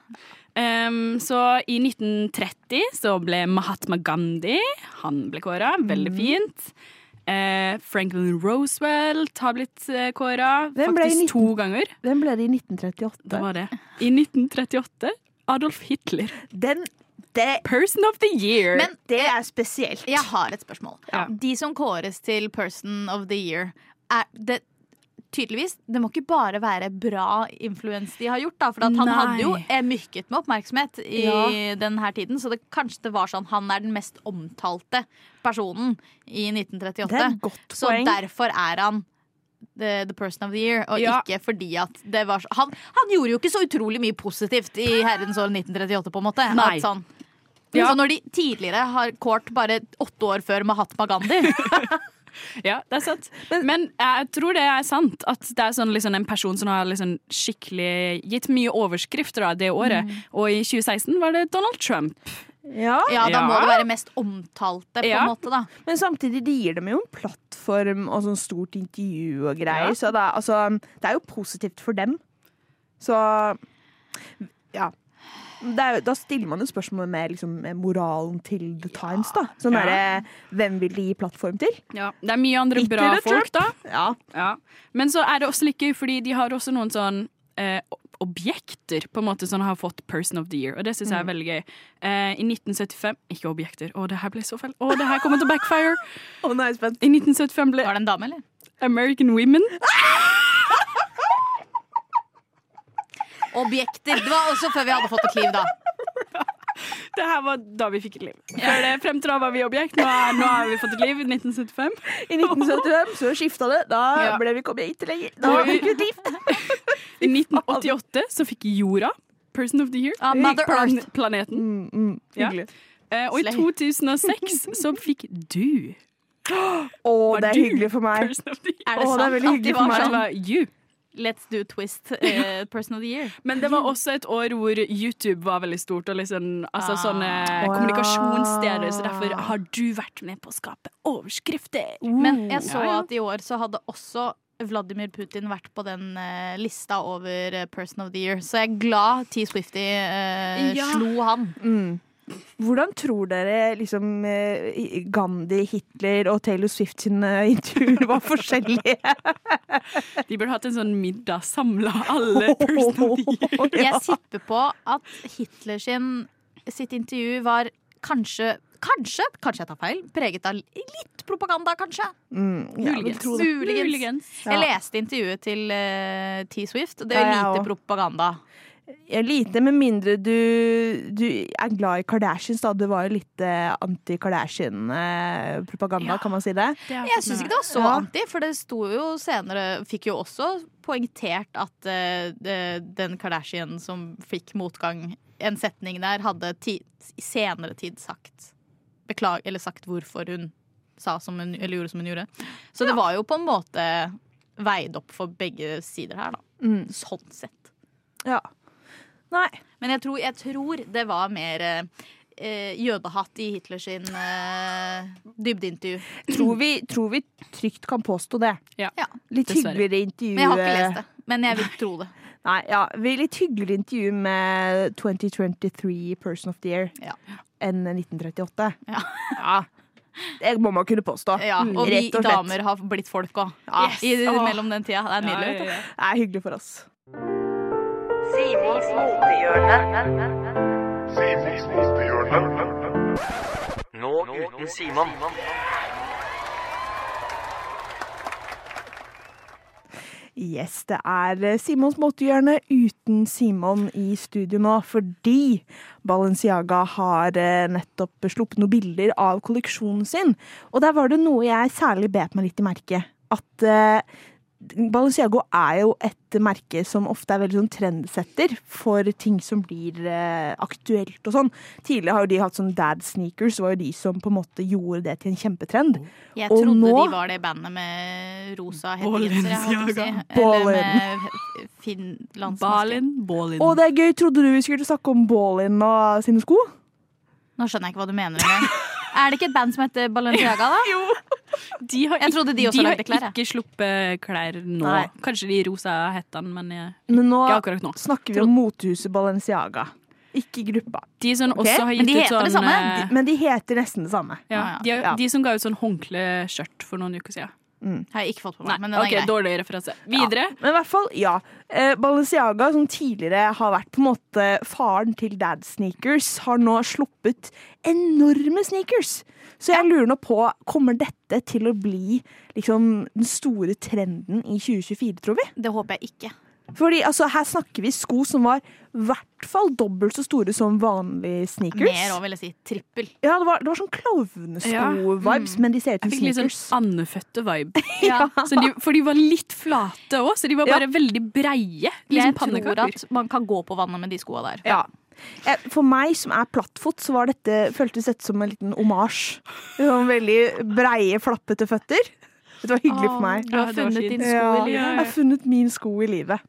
Speaker 6: Ehm, så i 1930 så ble Mahatma Gandhi Han ble kåra, veldig
Speaker 5: Mhm.
Speaker 6: fint. Eh, Franklin Roosevelt har blitt eh, kåra,
Speaker 3: Hvem ble i
Speaker 6: faktisk
Speaker 3: 19
Speaker 6: to ganger.
Speaker 3: Den ble det i
Speaker 6: Det
Speaker 3: 1938.
Speaker 6: var det. I 1938 Adolf Hitler.
Speaker 3: Den, det,
Speaker 6: Person of the year.
Speaker 5: Men
Speaker 3: det er spesielt.
Speaker 5: jeg har et spørsmål.
Speaker 6: Ja.
Speaker 5: De som kåres til Person of the Year, er det Tydeligvis, Det må ikke bare være bra influens de har gjort. da For at han
Speaker 6: Nei.
Speaker 5: hadde jo eh, mykket med oppmerksomhet i
Speaker 6: Ja.
Speaker 5: den her tiden. Så det, kanskje det var sånn han er den mest omtalte personen i 1938.
Speaker 3: Det er et godt
Speaker 5: Så
Speaker 3: poeng.
Speaker 5: derfor er han the, the person of the year, og
Speaker 6: Ja.
Speaker 5: ikke fordi at det var så han, han gjorde jo ikke så utrolig mye positivt i herrens år 1938, på en måte.
Speaker 6: Nei.
Speaker 5: At sånn,
Speaker 6: Ja.
Speaker 5: Så når de tidligere har kårt bare åtte år før Mahatma Gandhi
Speaker 6: Ja, det er sant. Men jeg tror det er sant at det er sånn, liksom, en person som har liksom, skikkelig gitt mye overskrifter da, det året. Og i 2016 var det Donald Trump.
Speaker 3: Ja.
Speaker 5: Ja, da må
Speaker 3: Ja.
Speaker 5: det være mest omtalte, på
Speaker 3: Ja.
Speaker 5: en måte, da.
Speaker 3: Men samtidig det gir dem jo en plattform og sånn stort intervju og greier. Så det er, altså, det er jo positivt for dem. Så ja. Det er, jo- da stiller man jo spørsmål med liksom, moralen til The Times. da Sånn
Speaker 6: Ja.
Speaker 3: derre Hvem vil de gi plattform til?
Speaker 6: Ja, det er mye andre
Speaker 3: Ikke
Speaker 6: bra
Speaker 3: det,
Speaker 6: folk, da.
Speaker 3: Ja.
Speaker 6: Ja. Men så er det også litt gøy, fordi de har også noen sånn eh, objekter på en måte som har fått Person of the Year, og det syns jeg er veldig gøy. Eh, I 1975 Ikke objekter, å, det her ble så feil. Å, det her kommer til å backfire.
Speaker 3: Å, nå er jeg spent.
Speaker 6: I 1975 ble
Speaker 5: Var det en dame, eller?
Speaker 6: American Women
Speaker 5: Objekter. Det var også før vi hadde fått et liv, da.
Speaker 6: Det her var da vi fikk et liv. Før det, frem til da var vi objekt. Nå, er, nå har vi fått et liv. 1975.
Speaker 3: I 1975 så skifta det. Da
Speaker 6: Ja.
Speaker 3: ble vi kommet hit lenger. Da fikk vi et liv.
Speaker 6: I 1988 så fikk jorda Person of the Year.
Speaker 5: Ja, Mother
Speaker 6: Plan-
Speaker 5: Earth.
Speaker 6: Planeten.
Speaker 3: Mm, mm,
Speaker 6: Ja.
Speaker 3: hyggelig.
Speaker 6: Eh, og i
Speaker 5: Slay.
Speaker 6: 2006 så fikk du
Speaker 3: Å,
Speaker 6: Var
Speaker 3: det er
Speaker 6: du
Speaker 3: hyggelig for meg.
Speaker 6: Person of the Year.
Speaker 5: Er det
Speaker 3: Å, det er
Speaker 5: sant
Speaker 3: veldig
Speaker 5: at de
Speaker 3: hyggelig for
Speaker 5: var
Speaker 3: meg.
Speaker 6: Det
Speaker 5: sånn
Speaker 6: var you.
Speaker 5: Let's do twist eh, person of the year.
Speaker 6: Men det var også et år hvor YouTube var veldig stort, og liksom, altså
Speaker 5: Ah.
Speaker 6: sånne kommunikasjonssteder. Så derfor har du vært med på å skape overskrifter.
Speaker 5: Men jeg så
Speaker 6: Ja, ja.
Speaker 5: at i år så hadde også Vladimir Putin vært på den eh, lista over eh, person of the year, så jeg er glad T. Swifty eh,
Speaker 6: Ja.
Speaker 5: slo han.
Speaker 3: Mm. Hvordan tror dere liksom, eh, Gandhi, Hitler og Taylor Swift sine intervjuer var forskjellige?
Speaker 6: De burde hatt en sånn middag, samla alle person of the year.
Speaker 5: Jeg tipper på at Hitler sin, sitt intervju var kanskje Kanskje, kanskje jeg tar feil, preget av litt propaganda, kanskje.
Speaker 3: Mm, ja, vil
Speaker 6: Muligens.
Speaker 3: tro det.
Speaker 5: Muligens.
Speaker 6: Muligens.
Speaker 5: Jeg leste intervjuet til eh, T. Swift. og Det
Speaker 3: Ja,
Speaker 5: er
Speaker 3: jeg
Speaker 5: lite
Speaker 3: også.
Speaker 5: propaganda.
Speaker 3: Ja, lite, med mindre du, du er glad i Kardashians. Da. Du var jo litt eh, anti-Kardashian-propaganda,
Speaker 6: Ja.
Speaker 3: kan man si det.
Speaker 5: Jeg syns ikke det var så
Speaker 3: Ja.
Speaker 5: anti, for det sto jo senere Fikk jo også poengtert at eh, det- den Kardashian som fikk motgang, en setning der, hadde ti, i senere tid sagt beklag, Eller sagt hvorfor hun sa som hun, eller gjorde som hun gjorde. Så det var jo på en måte veid opp for begge sider her, da.
Speaker 3: Mm.
Speaker 5: Sånn sett.
Speaker 3: Ja. Nei.
Speaker 5: Men jeg tror, jeg tror det var mer eh, eh, jødehatt i Hitlers sin eh, dybdeintervju.
Speaker 3: Tror vi, tror vi trygt kan påstå det.
Speaker 6: Ja.
Speaker 5: Ja,
Speaker 3: Litt
Speaker 6: dessverre.
Speaker 3: hyggeligere intervju
Speaker 5: Men jeg har ikke
Speaker 3: eh,
Speaker 5: lest det. Men jeg vil tro det.
Speaker 3: Nei, ja, vi er litt hyggeligere intervju med 2023 Person of the Year
Speaker 5: Ja.
Speaker 3: enn 1938.
Speaker 5: Ja.
Speaker 3: Det må man kunne påstå.
Speaker 5: Ja, og vi
Speaker 3: Rett og slett.
Speaker 5: damer har blitt folk òg.
Speaker 3: Yes.
Speaker 5: I
Speaker 3: Åh.
Speaker 5: Mellom den tida. Det er nydelig. vet du.
Speaker 3: Det er hyggelig for oss.
Speaker 1: Nå uten Simon.
Speaker 3: Yes, det er eh, Simons måtehjørne uten Simon i studio nå, fordi Balenciaga har eh, nettopp sluppet noen bilder av kolleksjonen sin. Og der var det noe jeg særlig bet meg litt i merke. At eh, Balenciago er jo et merke som ofte er veldig sånn trendsetter for ting som blir eh, aktuelt og sånn. Tidligere har jo de hatt sånn dad sneakers, var jo de som på en måte gjorde det til en kjempetrend.
Speaker 5: Jeg
Speaker 3: Og
Speaker 5: trodde
Speaker 3: nå-
Speaker 5: de var det bandet med rosa hettegenser. jeg holdt på å si.
Speaker 3: Ballin.
Speaker 5: Eller med finlandsmaske.
Speaker 6: Balin, Balin.
Speaker 3: Og det er gøy! Trodde du vi skulle snakke om Ballin og sine sko?
Speaker 5: Nå skjønner jeg ikke hva du mener. engang. Er det ikke et band som heter Balenciaga, da?
Speaker 6: de har,
Speaker 5: Jeg
Speaker 6: ikke-
Speaker 5: trodde de også
Speaker 6: har
Speaker 5: lagde klær, jeg.
Speaker 6: ikke sluppet klær nå.
Speaker 3: Nei.
Speaker 6: Kanskje de rosa hettene, men jeg,
Speaker 3: Men nå
Speaker 6: ikke akkurat nå.
Speaker 3: snakker vi om motehuset Balenciaga. Ikke gruppa.
Speaker 6: De som
Speaker 3: Ok,
Speaker 6: også har
Speaker 5: men
Speaker 6: gitt
Speaker 5: de
Speaker 6: ut
Speaker 5: heter
Speaker 6: sånn
Speaker 5: det samme.
Speaker 6: eh,
Speaker 3: Men de heter nesten det samme.
Speaker 6: Ja,
Speaker 5: Ah,
Speaker 6: de, har-
Speaker 3: ja.
Speaker 6: de som ga ut sånn håndkleskjørt for noen uker siden.
Speaker 5: Har jeg ikke fått på
Speaker 6: Nei,
Speaker 5: meg, men den
Speaker 6: ok,
Speaker 5: er grei.
Speaker 6: dårlig referanse. Videre.
Speaker 3: Men i hvert fall, ja. Eh, Balenciaga, som tidligere har vært på en måte faren til dad sneakers, har nå sluppet enorme sneakers. Så jeg lurer nå på, kommer dette til å bli liksom, den store trenden i 2024, tror vi?
Speaker 5: Det håper jeg ikke.
Speaker 3: Fordi altså, her snakker vi sko som var i hvert fall dobbelt så store som vanlige sneakers.
Speaker 5: Mer òg, vil jeg si. Trippel.
Speaker 3: Ja, det var, det var sånn klovnesko-vibes, men de ser ut
Speaker 6: Jeg
Speaker 3: som
Speaker 6: fikk litt sånn
Speaker 3: sneakers.
Speaker 6: andefødte vibe.
Speaker 5: Ja.
Speaker 6: Så de, for de var litt flate òg, så de var
Speaker 3: Ja.
Speaker 6: bare veldig breie.
Speaker 5: Jeg
Speaker 6: Liksom
Speaker 5: tror
Speaker 6: pannekaker.
Speaker 5: at man kan gå på vannet med de skoa der.
Speaker 3: Ja. Eh, For meg som er plattfot, så var dette, føltes dette som en liten omasj. Sånn Veldig breie, flappete føtter. Det var hyggelig for meg.
Speaker 5: Du har funnet din sko
Speaker 3: Ja,
Speaker 5: i livet.
Speaker 3: jeg har funnet min sko i livet.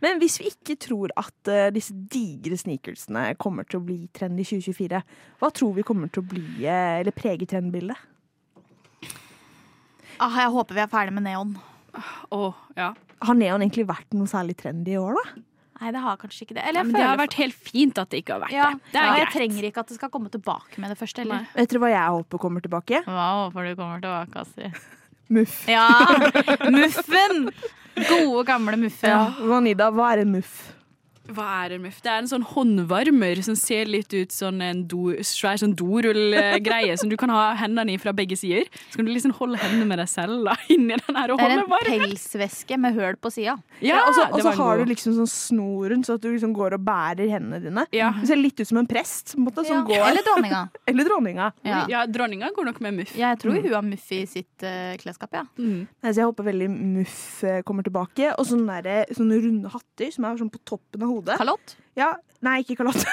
Speaker 3: Men hvis vi ikke tror at eh, disse digre sneakersene kommer til å bli trend i 2024, hva tror vi kommer til å bli, eh, eller prege trendbildet?
Speaker 5: Ah, jeg håper vi er ferdig med neon.
Speaker 6: Åh, ja.
Speaker 3: Har neon egentlig vært noe særlig trendy i år, da?
Speaker 5: Nei, det har kanskje ikke det. Eller
Speaker 6: Ja,
Speaker 5: jeg
Speaker 6: Men det
Speaker 5: føler
Speaker 6: har vært helt fint at det ikke har vært
Speaker 5: ja,
Speaker 6: det. Det er
Speaker 5: ja, Jeg
Speaker 6: greit.
Speaker 5: trenger ikke at det skal komme tilbake med det første. Eller?
Speaker 3: Vet dere hva jeg håper kommer tilbake?
Speaker 5: Hva håper du kommer tilbake, Astrid?
Speaker 3: Muff.
Speaker 5: Ja! Muffen! Gode, gamle muffen.
Speaker 3: Ja. Vanida, hva er en muff?
Speaker 6: Hva er en muff? Det er en sånn håndvarmer som ser litt ut som en do, svær sånn dorullgreie som du kan ha hendene i fra begge sider. Så kan du liksom holde hendene med deg selv da, inni den her og
Speaker 5: Det er
Speaker 6: holde
Speaker 5: en
Speaker 6: varm.
Speaker 5: pelsvæske med høl på sida.
Speaker 6: Ja,
Speaker 3: og så-
Speaker 6: det
Speaker 3: og så
Speaker 6: var en
Speaker 3: har
Speaker 6: god-
Speaker 3: du liksom sånn snor rundt, så at du liksom går og bærer hendene dine.
Speaker 6: Ja.
Speaker 3: Du ser litt ut som en prest på en måte, som går.
Speaker 5: Eller dronninga.
Speaker 3: Eller dronninga.
Speaker 5: Ja.
Speaker 6: ja, dronninga går nok med muff. Mm.
Speaker 5: Jeg tror hun har muff i sitt eh, klesskap, ja.
Speaker 3: Nei, Så jeg håper veldig muff eh, kommer tilbake. Og sånne, der, eh, sånne runde hatter som er sånn på toppen av hodet.
Speaker 5: Kalott.
Speaker 3: Ja, nei, ikke kalott.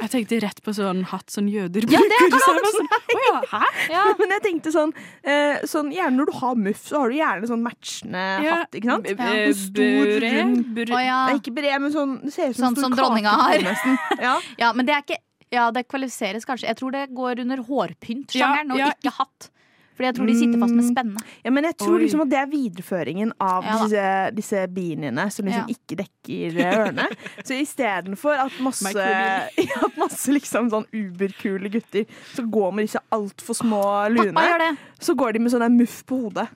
Speaker 6: Jeg tenkte rett på sånn hatt som jøder
Speaker 5: Ja, det er
Speaker 6: bruker. så jeg var sånn, «Å ja, hæ?
Speaker 5: Ja.
Speaker 3: Men jeg tenkte sånn, eh, sånn Gjerne når du har muff, så har du gjerne sånn matchende
Speaker 6: Ja.
Speaker 3: hatt. ikke sant?
Speaker 6: B-
Speaker 5: Ja.
Speaker 6: eh,
Speaker 3: En stor
Speaker 6: bure,
Speaker 3: rund-
Speaker 6: bure-
Speaker 5: Å, ja.
Speaker 3: Nei, ikke bre, men sånn det ser ut som,
Speaker 5: Sånn
Speaker 3: en stor
Speaker 5: som dronninga har.
Speaker 3: kakepynt nesten. Ja.
Speaker 5: ja, men det er ikke Ja, det kvalifiseres kanskje. Jeg tror det går under hårpyntsjangeren
Speaker 6: Ja,
Speaker 5: og
Speaker 6: ja.
Speaker 5: ikke hatt. Fordi jeg tror de sitter fast med spenne.
Speaker 3: ja, men jeg tror
Speaker 6: Oi.
Speaker 3: liksom at det er videreføringen av
Speaker 5: Ja da.
Speaker 3: disse, disse beaniene som liksom
Speaker 5: Ja.
Speaker 3: ikke dekker eh, ørene. Så istedenfor at masse,
Speaker 6: Microbeanie.
Speaker 3: ja, at masse liksom sånn uberkule gutter som går med disse altfor små
Speaker 5: Pappa
Speaker 3: luene,
Speaker 5: gjør det.
Speaker 3: så går de med sånn der muff på hodet.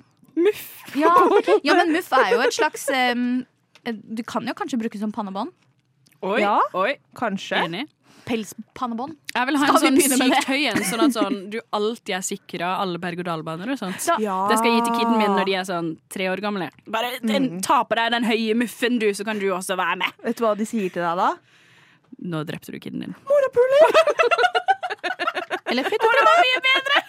Speaker 5: Ja, ja men muff er jo et slags em, Du kan jo kanskje bruke som pannebånd.
Speaker 6: Oi,
Speaker 3: Ja.
Speaker 6: oi,
Speaker 3: Kanskje.
Speaker 6: enig.
Speaker 5: Pelspannebånd.
Speaker 6: Jeg vil ha
Speaker 5: Skal
Speaker 6: en
Speaker 5: vi
Speaker 6: sånn
Speaker 5: begynne med det?
Speaker 6: sykt høy en, sånn at sånn, du alltid er sikra alle berg-og-dal-baner og sånt.
Speaker 3: Ja.
Speaker 6: Det skal jeg gi til kiden min når de er sånn tre år gamle. Bare den, Ta på deg den høye muffen, du, så kan du også være med.
Speaker 3: Vet du hva de sier til deg da?
Speaker 6: Nå drepte du kiden din.
Speaker 5: Eller fytti det var mye bedre!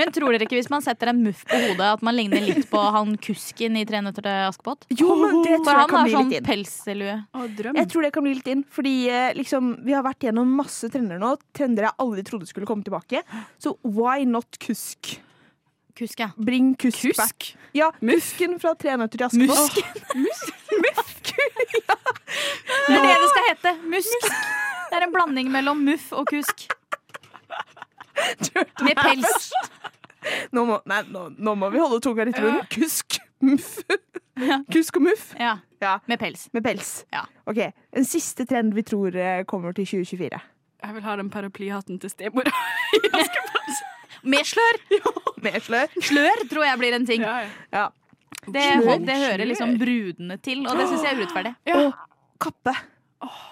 Speaker 5: Men tror dere ikke hvis man setter en muff på hodet, at man ligner litt på han kusken i 'Tre nøtter til Askepott'?
Speaker 3: Jo, men Oh, det
Speaker 5: For
Speaker 3: tror jeg
Speaker 5: han
Speaker 3: kan
Speaker 5: har
Speaker 3: bli
Speaker 5: sånn
Speaker 3: litt inn.
Speaker 5: pelslue.
Speaker 6: Å, drøm.
Speaker 3: Jeg tror det kan bli litt inn, fordi eh, liksom, vi har vært gjennom masse trender nå. Trender jeg aldri trodde skulle komme tilbake. Så why not kusk?
Speaker 5: Kusk, ja.
Speaker 3: Bring kusk, back.
Speaker 6: Kusk.
Speaker 3: Ja,
Speaker 6: Muff.
Speaker 3: kusken fra Tre nøtter til Askepott.
Speaker 5: Det er det det skal hete. Musk. Det er en blanding mellom muff og kusk. Med pels.
Speaker 3: Nå, må- nei, nå, nå må vi holde tunga litt i munnen. Kusk, muff. Kusk og muff.
Speaker 5: Ja,
Speaker 3: Ja,
Speaker 5: med pels.
Speaker 3: med pels.
Speaker 5: Ja.
Speaker 3: Ok, En siste trend vi tror eh, kommer til 2024.
Speaker 6: Jeg vil ha den paraplyhatten til stemora.
Speaker 5: Med slør.
Speaker 3: Med slør.
Speaker 5: Slør tror jeg blir en ting.
Speaker 6: Ja, ja.
Speaker 3: Ja.
Speaker 5: Det, det hører liksom brudene til, og det syns jeg er urettferdig.
Speaker 3: Og kappe.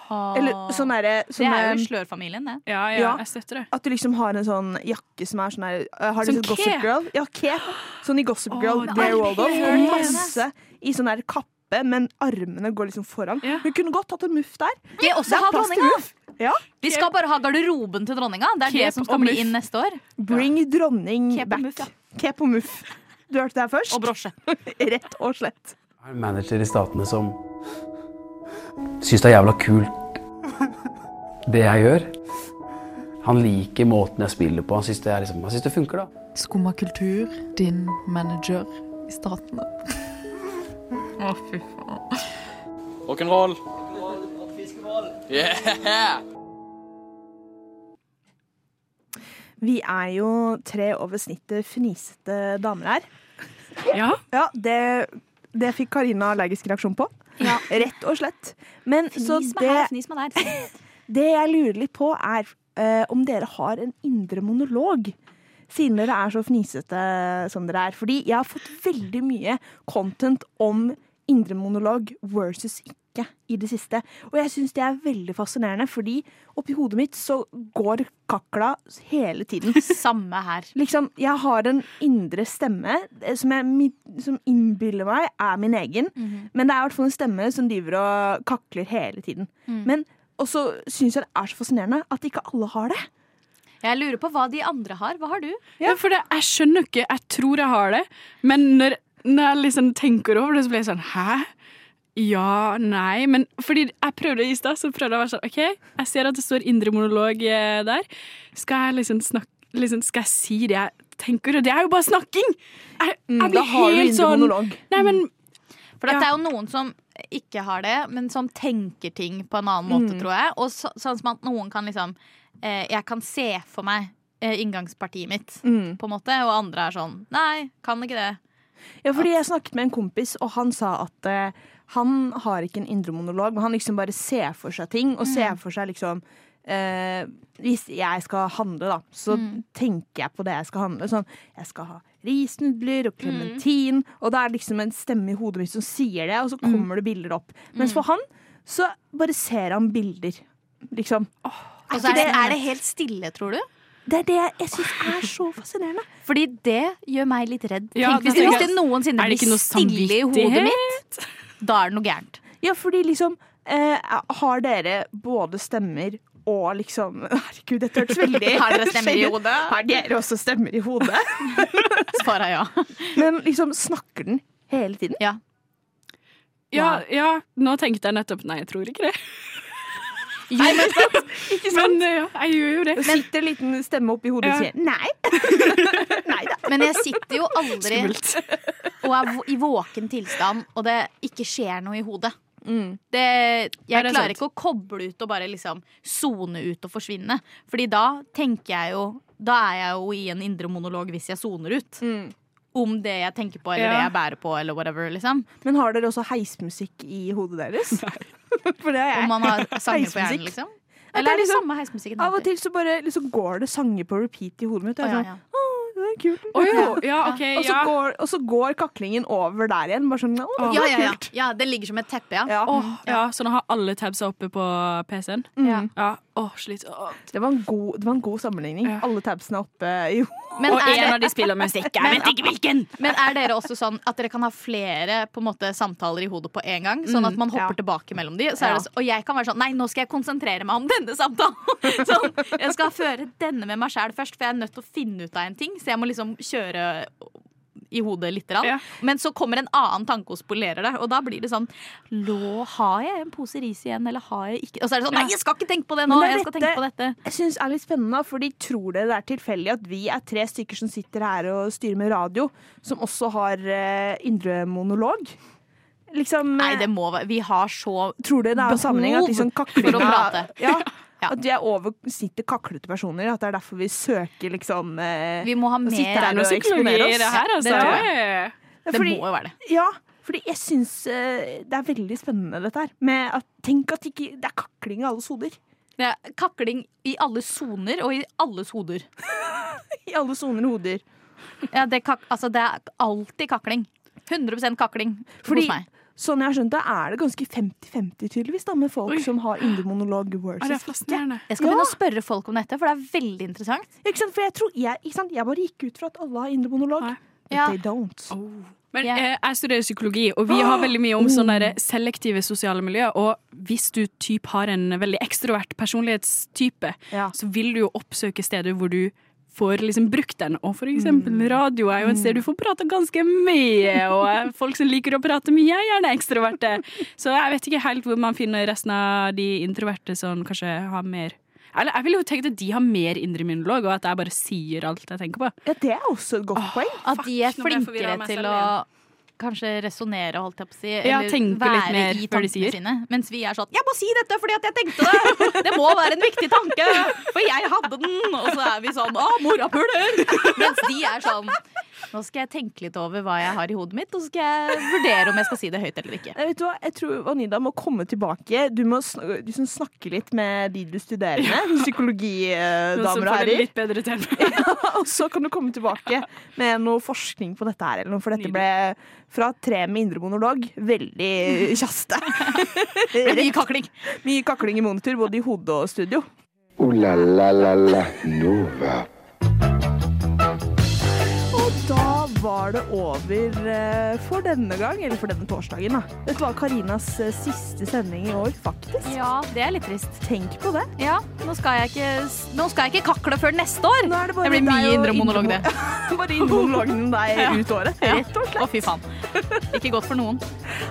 Speaker 3: Eller sånn derre
Speaker 5: Det er
Speaker 3: sånne-
Speaker 5: jo slørfamilien, det.
Speaker 6: ja,
Speaker 3: Ja.
Speaker 6: jeg støtter det.
Speaker 3: At du liksom har en sånn jakke som er sånn her øh, Har du
Speaker 6: Som
Speaker 3: sett
Speaker 6: cape.
Speaker 3: Gossip Girl? Ja, cape. Sånn i Gossip Girl,
Speaker 6: det er
Speaker 3: Blair Waldorf. Og
Speaker 5: helt
Speaker 3: masse i sånn her kappe, men armene går liksom foran.
Speaker 6: Ja.
Speaker 3: Hun kunne godt hatt en muff der.
Speaker 5: Vi også
Speaker 3: Det er
Speaker 5: har
Speaker 3: plass til
Speaker 5: dronninga.
Speaker 3: muff. Ja.
Speaker 5: Vi skal bare ha garderoben til dronninga. Det er det
Speaker 6: Cape
Speaker 5: som skal
Speaker 6: og
Speaker 5: bli
Speaker 6: muff.
Speaker 5: inn neste år.
Speaker 3: Bring dronning
Speaker 5: Cape og
Speaker 3: back.
Speaker 5: muff, ja.
Speaker 3: Cape og muff. Du hørte det her først.
Speaker 5: Og brosje.
Speaker 3: Rett og slett.
Speaker 7: Jeg er en manager i statene som syns det er jævla kult det jeg gjør. Han liker måten jeg spiller på. Han syns det, er liksom, han synes det funker, da.
Speaker 10: Skumma kultur, din manager i staten. Å, fy faen.
Speaker 8: Rock'n'roll.
Speaker 3: Vi er jo tre over snittet fnisete damer her.
Speaker 6: Ja.
Speaker 3: Ja, det, det fikk Karina allergisk reaksjon på.
Speaker 5: Ja.
Speaker 3: Rett og slett. Men så
Speaker 5: Fnis meg
Speaker 3: det
Speaker 5: her, fnis meg der.
Speaker 3: Det jeg lurer litt på, er eh, om dere har en indre monolog. Siden dere er så fnisete som dere er. Fordi jeg har fått veldig mye content om indre monolog versus ikke i det siste. Og jeg syns det er veldig fascinerende, fordi oppi hodet mitt så går kakla hele tiden.
Speaker 5: Samme her.
Speaker 3: Liksom, jeg har en indre stemme eh, som, jeg, mi- som innbiller meg er min egen. Men det er i hvert fall en stemme som driver og kakler hele tiden. Men også syns jeg det er så fascinerende at ikke alle har det.
Speaker 5: Jeg lurer på hva de andre har. Hva har du?
Speaker 6: Ja, for det, jeg skjønner ikke. Jeg tror jeg har det. Men når, når jeg liksom tenker over det, så blir jeg sånn Hæ? Ja, nei Men fordi jeg prøvde i stad, så prøvde jeg å være sånn OK, jeg ser at det står indre monolog eh, der. Skal jeg liksom snakke liksom, Skal jeg si det jeg tenker det. Det er jo bare snakking! Jeg, jeg
Speaker 3: Mm, Da har
Speaker 6: blir
Speaker 3: du
Speaker 6: helt
Speaker 3: indre
Speaker 6: sånn
Speaker 3: monolog.
Speaker 6: Nei, men
Speaker 5: For at det
Speaker 6: Ja.
Speaker 5: er jo noen som ikke har det, men som tenker ting på en annen måte, tror jeg. Og så, sånn som at noen kan liksom eh, Jeg kan se for meg eh, inngangspartiet mitt,
Speaker 3: Mm.
Speaker 5: på en måte. Og andre er sånn Nei, kan ikke det.
Speaker 3: Ja, fordi jeg snakket med en kompis, og han sa at eh, han har ikke en indre monolog, men han liksom bare ser for seg ting, og ser
Speaker 5: Mm.
Speaker 3: for seg liksom eh, Hvis jeg skal handle, da, så
Speaker 5: Mm.
Speaker 3: tenker jeg på det jeg skal handle. Sånn, jeg skal ha risnudler
Speaker 5: Mm.
Speaker 3: og klementin, og det er liksom en stemme i hodet mitt som sier det, og så
Speaker 5: Mm.
Speaker 3: kommer det bilder opp. Mens for han så bare ser han bilder, liksom.
Speaker 5: Og
Speaker 3: ikke
Speaker 5: så er det, sånn
Speaker 3: det-
Speaker 5: er det helt stille, tror du?
Speaker 3: Det er det jeg, jeg syns er så fascinerende.
Speaker 5: Fordi det gjør meg litt redd.
Speaker 6: Ja,
Speaker 5: Tenk hvis
Speaker 6: da
Speaker 5: det,
Speaker 6: tenker
Speaker 5: hvis det
Speaker 6: jeg,
Speaker 5: noensinne
Speaker 6: er det ikke
Speaker 5: blir
Speaker 6: noe
Speaker 5: Mm. stille i hodet
Speaker 6: samvittighet?
Speaker 5: mitt, da er det noe gærent.
Speaker 3: Ja, fordi liksom eh, Har dere både stemmer og liksom Herregud, dette hørtes veldig
Speaker 5: Har dere stemmer i hodet?
Speaker 3: Har dere også stemmer i hodet?
Speaker 5: Svaret er ja.
Speaker 3: Men liksom, snakker den hele tiden?
Speaker 5: ja.
Speaker 6: ja, ja, nå tenkte jeg nettopp Nei, jeg tror ikke det.
Speaker 5: Jo, men
Speaker 6: Men eh, ja, jeg gjør jo det.
Speaker 3: Det sitter en liten stemme oppi hodet og
Speaker 6: Ja.
Speaker 3: sier nei. nei da.
Speaker 5: Men jeg sitter jo aldri og er vå- i våken tilstand, og det ikke skjer noe i hodet.
Speaker 3: Mm,
Speaker 5: Det, jeg
Speaker 6: Er det
Speaker 5: klarer
Speaker 6: sant?
Speaker 5: ikke å koble ut og bare liksom sone ut og forsvinne. Fordi da tenker jeg jo Da er jeg jo i en indre monolog hvis jeg soner ut.
Speaker 3: mm.
Speaker 5: Om det jeg tenker på, eller
Speaker 6: Ja.
Speaker 5: det jeg bærer på, eller whatever. liksom
Speaker 3: Men har dere også heismusikk i hodet deres? For det har jeg.
Speaker 5: Om man har sanger på hjernen,
Speaker 3: Heismusikk.
Speaker 5: liksom.
Speaker 3: det er
Speaker 5: Eller er det
Speaker 3: liksom-
Speaker 5: samme heismusikken?
Speaker 3: Av og til så bare liksom går det sanger på repeat i hodet mitt. Og, jeg
Speaker 5: Å,
Speaker 3: er
Speaker 5: ja,
Speaker 3: sånn, Å, det er kult.
Speaker 6: Å jo, ja, OK,
Speaker 3: og, så
Speaker 6: ja.
Speaker 3: går, og så går kaklingen over der igjen. Bare sånn, å, det var
Speaker 5: Ja, ja, ja.
Speaker 3: kult.
Speaker 5: ja, det ligger som et teppe, ja.
Speaker 3: Ja.
Speaker 6: Åh, Mm, ja, så nå har alle tabsa oppe på PC-en?
Speaker 3: Mm.
Speaker 5: Ja.
Speaker 6: Ja. Åh, slit. Åh.
Speaker 3: Det var en god, det var en god sammenligning.
Speaker 6: Ja.
Speaker 3: Alle tabsene er oppe i
Speaker 5: Men
Speaker 6: Og
Speaker 5: er det-
Speaker 6: en av de spiller musikk. Jeg vet ikke hvilken!
Speaker 5: Men er dere også sånn at dere kan ha flere på en måte, samtaler i hodet på en gang? Sånn at man hopper
Speaker 3: Mm, ja.
Speaker 5: tilbake mellom de? Så er
Speaker 3: Ja.
Speaker 5: det, så- og jeg kan være sånn Nei, nå skal jeg konsentrere meg om denne samtalen! Sånn, jeg skal føre denne med meg sjæl først, for jeg er nødt til å finne ut av en ting. Så jeg må liksom kjøre i hodet lite grann.
Speaker 6: Ja.
Speaker 5: Men så kommer en annen tanke og spolerer det. Og da blir det sånn Lå, har jeg en pose ris igjen, eller har jeg ikke Og så er det sånn Nei, jeg skal ikke tenke på det nå!
Speaker 3: Men det er
Speaker 5: Jeg skal
Speaker 3: dette-
Speaker 5: tenke på dette.
Speaker 3: Jeg synes det er litt spennende, for de tror det er tilfeldig at vi er tre stykker som sitter her og styrer med radio, som også har eh, indre monolog. Liksom,
Speaker 5: Nei, det må være Vi har så
Speaker 3: tror dere det er en sammenheng at liksom kaklinga
Speaker 5: for å prate.
Speaker 3: Ja,
Speaker 5: Ja.
Speaker 3: At vi er over, sitter kaklete personer. At det er derfor vi søker liksom eh,
Speaker 5: Vi må ha
Speaker 3: å sitte
Speaker 5: mer
Speaker 3: her
Speaker 6: Det er noe
Speaker 3: og eksponere
Speaker 6: psykologi
Speaker 3: oss.
Speaker 6: i det her, altså.
Speaker 5: Det tror
Speaker 6: Ja.
Speaker 3: Ja,
Speaker 5: Det
Speaker 3: fordi-
Speaker 5: må jo være det.
Speaker 3: Ja, fordi jeg syns eh, det er veldig spennende dette her. Med at, tenk at ikke, det er kakling i alles hoder.
Speaker 5: Det er kakling i alle soner og i alles hoder.
Speaker 3: I alle soner og hoder.
Speaker 5: Ja, det, er kak altså, det er alltid kakling. 100 kakling
Speaker 3: Fordi-
Speaker 5: hos meg.
Speaker 3: Sånn jeg har skjønt det, er det ganske 50-50 tydeligvis da, med folk
Speaker 6: Oi.
Speaker 3: som har indre monolog
Speaker 6: Åh, det er
Speaker 3: versus ikke.
Speaker 6: fascinerende.
Speaker 5: Jeg skal begynne å spørre folk om dette, for det er veldig interessant.
Speaker 3: Ikke sant? For jeg, tror, jeg, ikke sant? jeg bare gikk ut fra at alle har indre monolog.
Speaker 6: Nei.
Speaker 3: But
Speaker 5: Ja.
Speaker 3: they don't.
Speaker 6: Men
Speaker 5: Ja.
Speaker 6: eh, jeg studerer psykologi, og vi har veldig mye om sånne der selektive sosiale miljøer. Og hvis du typ har en veldig ekstrovert personlighetstype,
Speaker 3: Ja.
Speaker 6: så vil du jo oppsøke steder hvor du får liksom brukt den. Og for eksempel radio er jo et sted du får prate ganske mye, og eh, folk som liker å prate mye, er gjerne ekstroverte. Så jeg vet ikke helt hvor man finner resten av de introverte som kanskje har mer Eller jeg ville jo tenkt at de har mer indre monolog, og at jeg bare sier alt jeg tenker på.
Speaker 3: Ja, det er også et godt poeng.
Speaker 5: At de er
Speaker 6: nå ble jeg
Speaker 5: flinkere
Speaker 6: forvirret av meg
Speaker 5: til
Speaker 6: selv
Speaker 5: å kanskje resonnere, holdt jeg på å si.
Speaker 6: Ja, tenke litt
Speaker 5: være
Speaker 6: mer
Speaker 5: i
Speaker 6: før de
Speaker 5: tankene
Speaker 6: sier.
Speaker 5: sine. Mens vi er sånn 'jeg må si dette fordi at jeg tenkte det'. Det må være en viktig tanke, for jeg hadde den. Og så er vi sånn 'å, morapuler'. Mens de er sånn nå skal jeg tenke litt over hva jeg har i hodet mitt, og så skal jeg vurdere om jeg skal si det høyt eller ikke.
Speaker 3: Nei, Eh, vet du hva? Jeg tror Vanida må komme tilbake. Du må sn liksom snakke litt med de du studerer med,
Speaker 6: Noen som
Speaker 3: psykologidamer og
Speaker 6: får det
Speaker 3: herrer.
Speaker 6: litt bedre til.
Speaker 3: Og så kan du komme tilbake med noe forskning på dette her, eller noe, for dette ble fra tre med indre monolog veldig kjaste.
Speaker 5: Det blir mye kakling.
Speaker 3: Mye kakling i monitor, både i hodet og studio.
Speaker 2: Ooh la la la la Nova.
Speaker 3: Og da var det over eh, for denne gang, eller for denne torsdagen. da. Dette var Karinas eh, siste sending i år, faktisk.
Speaker 5: Ja, det er litt trist.
Speaker 3: Tenk på det.
Speaker 5: Ja, nå skal jeg ikke, nå skal jeg ikke kakle før neste år.
Speaker 3: Nå er det bare
Speaker 5: Det blir mye
Speaker 3: deg og
Speaker 5: indre monolog,
Speaker 3: indre- bare indre monologen deg ut året.
Speaker 5: Å, fy faen. Ikke godt for noen.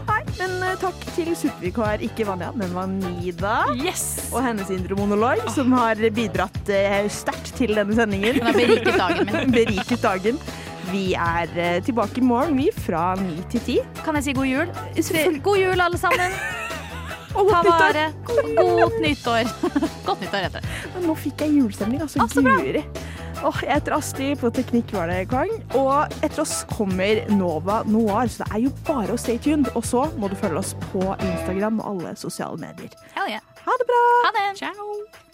Speaker 3: Nei. Men eh, takk til supervikar, ikke Vanja, men Vanida.
Speaker 6: Yes!
Speaker 3: Og hennes indre monolog, som har bidratt eh, sterkt til denne sendingen.
Speaker 5: Den har beriket dagen min.
Speaker 3: Beriket dagen. Vi er eh, tilbake i morgen, vi, fra ni til ti.
Speaker 5: Kan jeg si god jul? God jul, alle sammen.
Speaker 3: Og
Speaker 5: Ta
Speaker 3: godt nyttår!
Speaker 5: vare. Godt nyttår. Godt nyttår, heter det.
Speaker 3: Men Nå fikk jeg julestemning, altså.
Speaker 5: Å, Ah, så bra.
Speaker 3: Guri. Åh, jeg heter Astrid, på Teknikk var det Kvang. Og etter oss kommer Nova Noir, så det er jo bare å stay tuned. Og så må du følge oss på Instagram og alle sosiale medier.
Speaker 5: Hell yeah.
Speaker 3: Ha det bra!
Speaker 5: Ha det.
Speaker 6: Ciao!